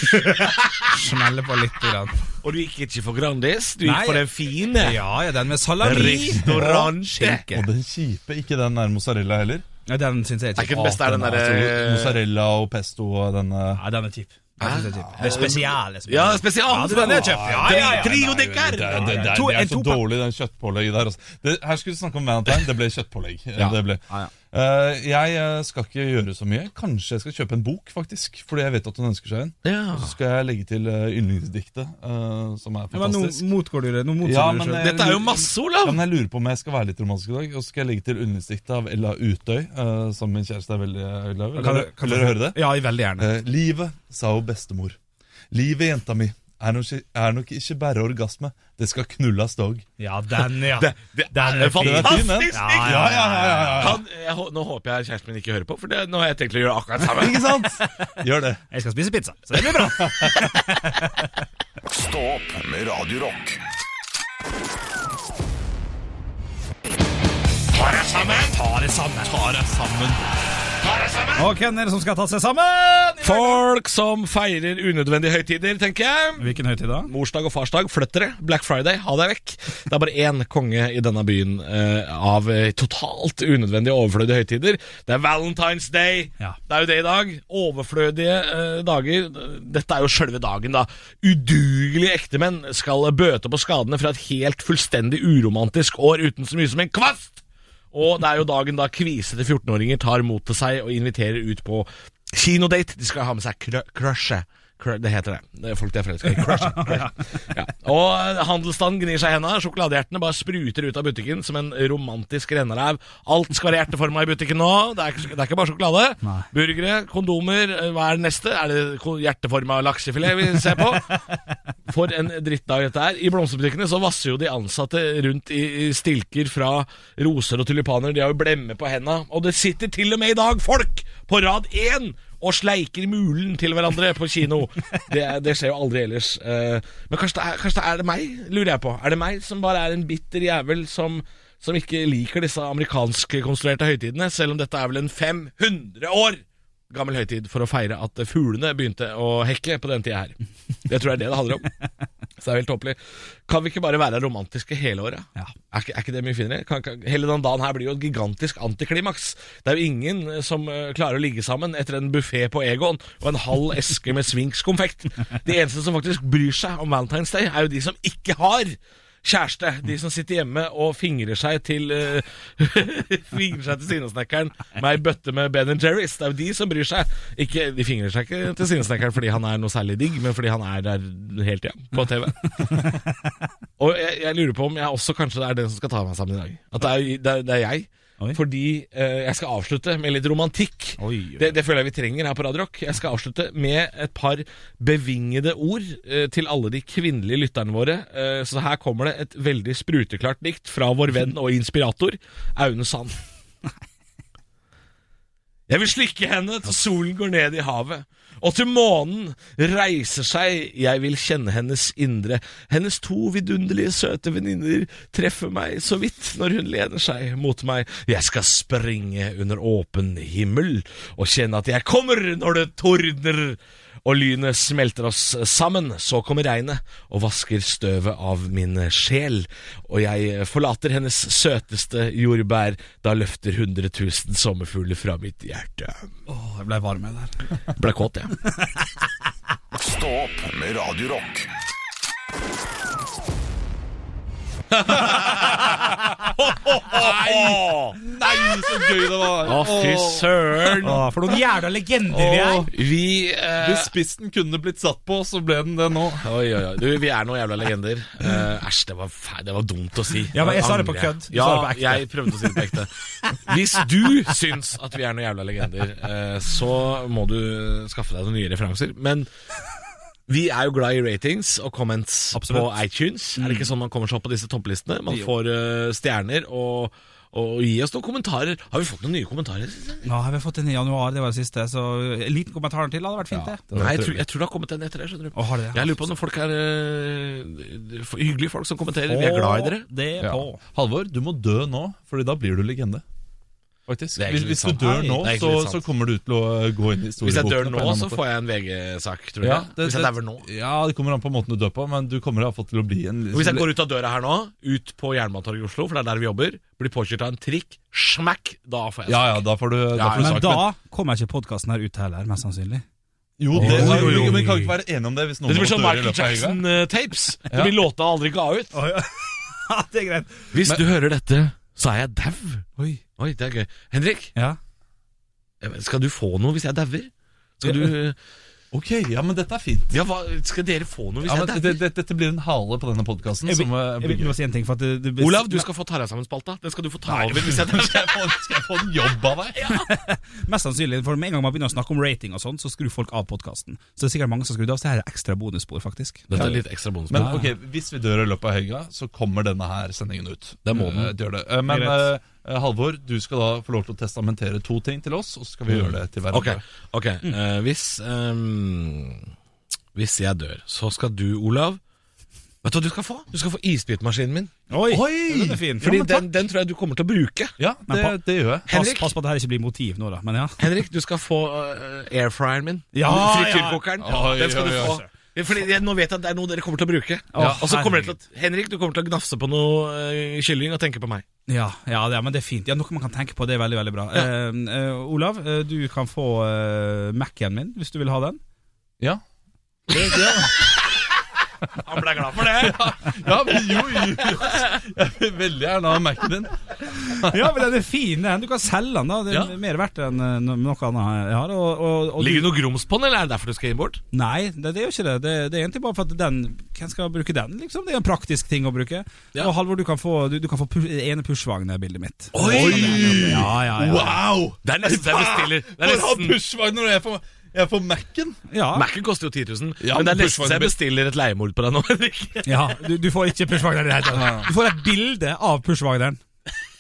Speaker 4: smelle på litt. Grann.
Speaker 3: Og du gikk ikke for Grandis, du gikk
Speaker 4: Nei.
Speaker 3: for den fine.
Speaker 4: Ja, ja, den med salami.
Speaker 3: Restaurant.
Speaker 5: Og den kjipe, ikke den der mozzarella heller.
Speaker 4: Ja, den syns jeg er
Speaker 3: Er ikke
Speaker 4: kjip.
Speaker 3: den beste er den
Speaker 5: Ah,
Speaker 4: Eh.
Speaker 5: altså,
Speaker 3: derre
Speaker 5: Mozzarella og pesto og denne
Speaker 4: Ja, den er kjip. Den synes jeg er kjip. Det er spesiale.
Speaker 3: Ja, spesial.
Speaker 4: Ja, den er kjøpt. Ja, ja, ja.
Speaker 3: Trio de
Speaker 5: Det er,
Speaker 3: carne.
Speaker 5: det, det, er,
Speaker 4: To-
Speaker 5: det
Speaker 4: en
Speaker 5: er
Speaker 4: to-
Speaker 5: så dårlig, den kjøttpålegget der. Altså. Det, her skulle vi snakke om Valentine, det ble kjøttpålegg. Det ble.
Speaker 4: Ja, ja.
Speaker 5: Eh, jeg eh, skal ikke gjøre så mye. Kanskje jeg skal kjøpe en bok, faktisk. Fordi jeg vet at hun ønsker seg en.
Speaker 3: Ja.
Speaker 5: Og så skal jeg legge til eh, yndlingsdiktet, eh, som er
Speaker 4: Ja, Men nå
Speaker 5: fantastisk.
Speaker 4: motgår du det. Nå motgår
Speaker 5: Ja,
Speaker 4: du det
Speaker 5: men,
Speaker 4: selv.
Speaker 5: eh,
Speaker 3: Dette er jo masse,
Speaker 5: Ja,
Speaker 3: Olav.
Speaker 5: men jeg lurer på om jeg skal være litt romantisk i dag. Og så skal jeg legge til yndlingsdiktet av Ella Utøy, eh, som min kjæreste er veldig eh, glad
Speaker 4: Kan
Speaker 5: i. Vil
Speaker 4: du- kan du-
Speaker 5: dere høre det?
Speaker 4: Ja, jeg veldig gjerne.
Speaker 5: Eh, livet, sa jo bestemor. Livet, jenta mi, er nok, ikke- er nok ikke bare orgasme. Det skal knulles dog.
Speaker 4: Ja, den, ja.
Speaker 3: det
Speaker 4: Den er fin.
Speaker 5: Den er fin, den.
Speaker 3: Fantastisk!
Speaker 4: Ja, ja, ja,
Speaker 3: Kan, jeg, hå- nå håper jeg kjæresten min ikke hører på, for det, nå har jeg tenkt å gjøre akkurat det samme.
Speaker 5: Ikke sant? Gjør det.
Speaker 4: Jeg skal spise pizza, så det blir bra.
Speaker 1: Stå opp med Radio Rock.
Speaker 4: Og hvem er det som skal ta seg sammen?
Speaker 3: Folk som feirer unødvendige høytider, tenker jeg.
Speaker 4: Hvilken høytid da?
Speaker 3: Morsdag og farsdag, flytt dere. Black Friday, ha deg vekk. Det er bare én konge i denne byen eh, av eh, totalt unødvendige overflødige høytider. Det er Valentine's Day.
Speaker 4: Ja.
Speaker 3: Det er jo det i dag. Overflødige eh, dager. Dette er jo sjølve dagen, da. Udugelige ektemenn skal bøte på skadene fra et helt fullstendig uromantisk år uten så mye som en kvast! Og det er jo dagen da kvisete 14-åringer tar mot til seg og inviterer ut på kinodate. De skal ha med seg krø- crushet. Cru- Det heter det. det er folk de er forelska i. Crushet. Crushet. Ja. Og eh, handelsstanden gnir seg i henda. Sjokoladehjertene bare spruter ut av butikken som en romantisk renneræv. Alt skal være hjerteforma i butikken nå. Det er, ikke- det er ikke bare sjokolade.
Speaker 4: Nei.
Speaker 3: Burgere, kondomer. eh, Hva er det neste? Er det ko- hjerteforma laksefilet vi ser på? For en drittdag dette er. I blomsterbutikkene så vasser jo de ansatte rundt i i stilker fra roser og tulipaner. De har jo blemme på henda. Og det sitter til og med i dag folk på rad én og sleiker mulen til hverandre på kino. Det, er- det skjer jo aldri ellers. Eh, Men kanskje det, er, kanskje det er det meg, lurer jeg på. Er det meg som bare er en bitter jævel som som ikke liker disse amerikanskkonstruerte høytidene, selv om dette er vel en 500 år gammel høytid for å feire at fuglene begynte å hekke på den tida her. Det tror jeg er det det handler om. Så det er helt tåpelig. Kan vi ikke bare være romantiske hele året?
Speaker 4: Ja.
Speaker 3: Er, ikke, er ikke det mye finere? Kan, kan, hele den dagen her blir jo et gigantisk antiklimaks. Det er jo ingen eh, som eh, klarer å ligge sammen etter en buffé på Egon og en halv eske med Swings-konfekt. De eneste som faktisk bryr seg om Valentine's Day, er jo de som ikke har kjæreste. De som sitter hjemme og fingrer seg til eh, Fingrer seg til Sinesnekkeren med ei bøtte med Ben Jerry's. Det er jo de som bryr seg. Ikke, de fingrer seg ikke til Sinesnekkeren fordi han er noe særlig digg, men fordi han er der hele tida på TV. Og jeg, jeg lurer på om jeg også kanskje er den som skal ta meg sammen i dag. At det er, det er, det er jeg.
Speaker 4: Oi.
Speaker 3: Fordi eh, jeg skal avslutte med litt romantikk.
Speaker 4: Oi, oi.
Speaker 3: Det, det føler jeg vi trenger her på Radio Rock. Jeg skal avslutte med et par bevingede ord eh, til alle de kvinnelige lytterne våre. Eh, så her kommer det et veldig spruteklart dikt fra vår venn og inspirator Aune Sand. Jeg vil slikke henne til solen går ned i havet. Og til månen reiser seg, jeg vil kjenne hennes indre. Hennes to vidunderlige søte venninner treffer meg så vidt når hun lener seg mot meg. Jeg skal springe under åpen himmel og kjenne at jeg kommer når det tordner. Og lynet smelter oss sammen, så kommer regnet og vasker støvet av min sjel. Og jeg forlater hennes søteste jordbær, da løfter 100 000 sommerfugler fra mitt hjerte.
Speaker 4: Åh, jeg ble varm jeg, der.
Speaker 3: Ble kåt, jeg.
Speaker 1: Stå opp med Radio Rock.
Speaker 3: Nei!
Speaker 5: Nei, så gøy det var!
Speaker 3: Å, fy søren!
Speaker 4: Åh, for noen jævla legender vi er.
Speaker 3: Vi eh,
Speaker 5: Hvis spissen kunne blitt satt på, så ble den det nå.
Speaker 3: Oi, oi, oi. Du, vi er noen jævla legender. Eh, Æsj, det, var fæ- det var dumt å si.
Speaker 4: Ja, men jeg sa det på
Speaker 3: Angrer jeg.
Speaker 4: kødd. Du
Speaker 3: Ja,
Speaker 4: sa det på ekte.
Speaker 3: jeg prøvde å si det på ekte. Hvis du syns at vi er noen jævla legender, eh, så må du skaffe deg noen nye referanser. Men vi er jo glad i ratings og comments
Speaker 4: Absolutt.
Speaker 3: på iTunes. Er det ikke sånn man kommer seg opp på disse topplistene? Man får eh, stjerner og, og gi oss noen kommentarer. Har vi fått noen nye kommentarer?
Speaker 4: Nå har vi fått en i januar, det var det siste, så en liten kommentar til hadde vært fint, det.
Speaker 3: Nei, jeg tror, jeg tror det har kommet en etter det. skjønner du
Speaker 4: Å, har det det?
Speaker 3: Jeg lurer på om folk er eh, f- hyggelige folk som kommenterer. Vi er glad i dere.
Speaker 4: Det er
Speaker 5: Ja.
Speaker 4: på.
Speaker 5: Halvor, du må dø nå, Fordi da blir du legende. Faktisk
Speaker 3: Det er
Speaker 5: Hvis,
Speaker 3: egentlig
Speaker 5: hvis du
Speaker 3: sant.
Speaker 5: dør
Speaker 3: Nei,
Speaker 5: nå,
Speaker 3: det er egentlig
Speaker 5: så,
Speaker 3: sant.
Speaker 5: så kommer du til å eh, gå inn i
Speaker 3: Hvis jeg
Speaker 5: historieboken.
Speaker 3: dør nå, så får jeg en VG-sak, tror jeg. Hvis jeg dauer nå.
Speaker 5: Ja, det kommer an på måten du dør på, men du kommer iallfall til å bli en
Speaker 3: Og Hvis jeg går ut av døra her nå, ut på Jernbanetorget i Oslo, for det er der vi jobber, blir påkjørt av en trikk, smack, da får jeg
Speaker 5: Ja ja, da får du, da
Speaker 3: Ja,
Speaker 5: får du
Speaker 4: Men
Speaker 5: sak.
Speaker 4: da kommer ikke podkasten her ut heller, mest sannsynlig.
Speaker 5: jo, det,
Speaker 4: Oi, oi, oi.
Speaker 5: Men vi kan ikke være enige om det hvis noen
Speaker 3: Det blir
Speaker 5: av
Speaker 3: sånn
Speaker 5: oss dør i
Speaker 3: Michael
Speaker 5: løpet av helga.
Speaker 3: Jackson-tapes. Det blir låta han aldri ga ut.
Speaker 4: det er greit.
Speaker 3: Hvis du hører dette, så er jeg dau.
Speaker 4: Oi.
Speaker 3: Oi, det er gøy. Henrik,
Speaker 4: Ja.
Speaker 3: skal du få noe hvis jeg dauer? Skal du
Speaker 5: Ok, ja, men dette er fint.
Speaker 3: Ja, hva, skal dere få noe hvis
Speaker 5: Ja,
Speaker 3: jeg
Speaker 5: men
Speaker 3: dauer?
Speaker 5: det, det, dette blir en hale på denne podkasten.
Speaker 4: Jeg vil,
Speaker 5: Som, eh,
Speaker 4: jeg
Speaker 5: blir
Speaker 4: vil
Speaker 5: gøy.
Speaker 4: bare si en ting. For at det, det,
Speaker 3: Olav, du skal få Tarassammen-spalta. Den skal du få ta over hvis jeg dauer.
Speaker 5: skal, jeg få, skal jeg få en jobb av deg?
Speaker 4: Mest sannsynlig, for med en gang man begynner å snakke om rating og sånn, så skrur folk av podkasten. Så det er sikkert mange som skrur av, så her er ekstra bonusspor, faktisk.
Speaker 3: Dette er litt ekstra bonus.
Speaker 5: Men ok, hvis vi dør i løpet av helga, så kommer denne her sendingen ut.
Speaker 3: Det må den.
Speaker 5: Eh, det gjør det. Eh, Men
Speaker 4: Greit.
Speaker 5: eh, Halvor, du skal da få lov til å testamentere to ting til oss, og så skal vi gjøre det til
Speaker 3: Mm. Ok,
Speaker 5: hverandre.
Speaker 3: ok Eh, hvis, ehm, hvis jeg dør, så skal du, Olav Vet du hva du skal få? Du skal få isbitmaskinen min.
Speaker 4: Oi!
Speaker 5: Oi!
Speaker 4: Den er fin.
Speaker 3: Fordi
Speaker 4: ja, men
Speaker 3: den,
Speaker 4: takk.
Speaker 3: den tror jeg du kommer til å bruke.
Speaker 5: Ja, det,
Speaker 4: Men
Speaker 5: det gjør jeg.
Speaker 4: Pass,
Speaker 3: Henrik?
Speaker 4: pass på at det her ikke blir motiv nå, da. Men ja.
Speaker 3: Henrik, du skal få eh, airfryeren min.
Speaker 4: Ja,
Speaker 3: Frityrkokeren.
Speaker 5: ja.
Speaker 3: Den skal du
Speaker 5: Oi, oi,
Speaker 3: få. Fordi jeg, nå vet jeg at det er noe dere kommer til å bruke.
Speaker 4: Ja,
Speaker 3: og så kommer dere til å Henrik, du kommer til å gnafse på noe eh, kylling og tenke på meg.
Speaker 4: Ja, ja, det- men det er fint. Ja, Noe man kan tenke på. Det er veldig veldig bra. Eh, eh, Olav, eh, du kan få uh, Mac-en min hvis du vil ha den.
Speaker 5: Ja. Det, ja.
Speaker 3: Han ble glad for det.
Speaker 5: ja, men jo, jo. Jeg vil veldig gjerne ha Mac-en din.
Speaker 4: Ja, men den er fin, den. Du kan selge den, da. Det er
Speaker 5: Ja.
Speaker 4: mer verdt enn eh, no- noe annet jeg har. Og, og, og
Speaker 3: Ligger det noe grums på den, eller er det derfor du skal inn bort?
Speaker 4: Nei, det, det er jo ikke det. det. Det er egentlig bare for at den Hvem skal bruke den, liksom? Det er en praktisk ting å bruke.
Speaker 3: Ja.
Speaker 4: Og Halvor, du kan få Du, du kan få pu ene pushvogn-bildet mitt.
Speaker 3: Oi!
Speaker 4: Ja, ja, ja.
Speaker 5: Wow!
Speaker 3: Det er nesten så jeg bestiller. Det er
Speaker 5: Hvor har
Speaker 3: nesten,
Speaker 5: pushwagner og jeg får, jeg får Mac-en?
Speaker 4: ja.
Speaker 3: Mac-en koster jo 10 000,
Speaker 5: Ja,
Speaker 3: men det er
Speaker 5: men
Speaker 3: nesten så
Speaker 5: pushvagnen
Speaker 3: jeg bestiller et leiemord på deg nå, Henrik.
Speaker 4: ja du, du får ikke pushvogner i det hele tatt. Du får et bilde av pushvogneren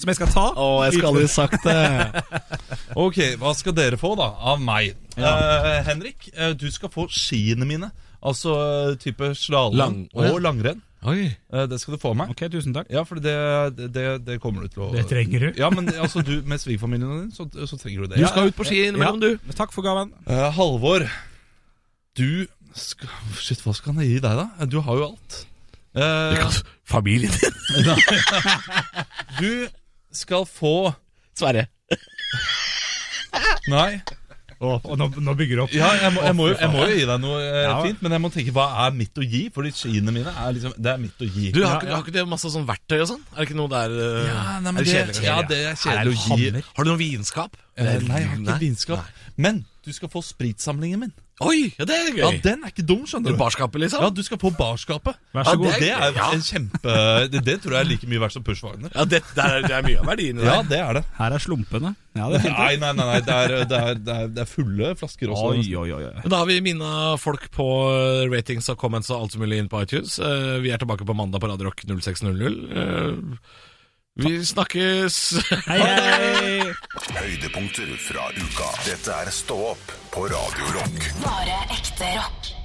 Speaker 4: som jeg skal ta.
Speaker 3: Å, jeg skal aldri sagt det.
Speaker 5: Ok, hva skal dere få da, av meg? Eh, Henrik, eh, du skal få skiene mine Altså eh, type slalom
Speaker 3: Lang-
Speaker 5: og langrenn
Speaker 3: Oi.
Speaker 5: Eh, Det skal du få av meg.
Speaker 4: Ok, tusen takk.
Speaker 5: Ja, for det, det, det kommer du til å
Speaker 7: Det trenger du.
Speaker 5: Ja, men altså, du, med svigerfamilien din, så, så trenger du det.
Speaker 3: Du
Speaker 5: Ja.
Speaker 3: skal ut på ski innimellom, du.
Speaker 4: Takk for gaven.
Speaker 5: Eh, Halvor, du skal, Shit, hva skal jeg gi deg, da? Du har jo alt. Eh,
Speaker 3: Familien din.
Speaker 5: du skal få
Speaker 3: Sverre.
Speaker 5: Nei.
Speaker 4: Og nå, nå bygger du opp.
Speaker 5: Ja, jeg må, jeg, må jo, jeg må jo gi deg noe eh,
Speaker 4: Ja.
Speaker 5: fint, men jeg må tenke hva er mitt å gi? Fordi skiene mine er liksom Det er mitt å gi.
Speaker 3: Du, har, ikke- har ikke det masse sånn verktøy og sånn? Er det ikke noe der eh,
Speaker 5: ja, nei,
Speaker 3: er
Speaker 5: men
Speaker 3: det
Speaker 5: det,
Speaker 3: kjedelig, kanskje?
Speaker 5: ja, det er
Speaker 4: Er det
Speaker 5: kjedelig å gi.
Speaker 4: hammer?
Speaker 3: Har du noe vinskap?
Speaker 5: Eh, Nei, jeg har ikke
Speaker 3: Nei.
Speaker 5: vinskap. Men du skal få spritsamlingen min.
Speaker 3: Oi, ja, det er gøy.
Speaker 5: Ja, Den er ikke dum, skjønner du.
Speaker 3: Barskapet, liksom?
Speaker 5: Ja, Du skal få barskapet.
Speaker 4: Vær så
Speaker 5: Ja,
Speaker 4: god.
Speaker 5: Det er
Speaker 3: Ja.
Speaker 5: en kjempe Det, det tror jeg er like mye verdt som Push Wagner.
Speaker 3: Ja, det, det, er, det er mye av verdien i det.
Speaker 5: Ja, det er det.
Speaker 4: Her er slumpene. Ja, det er fint.
Speaker 5: Nei, nei, nei, nei. Det, er, det, er, det, er, det er fulle flasker også.
Speaker 4: Oi, oi, oi. oi.
Speaker 3: Men Da har vi minna folk på eh, ratings og comments og alt som mulig inn på iTunes. Eh, Vi er tilbake på mandag på Radio Rock 0600. Eh, Vi snakkes
Speaker 4: Hei, hei.
Speaker 1: Høydepunkter fra uka. Dette er Stå opp på Radio Rock.
Speaker 2: Bare ekte rock.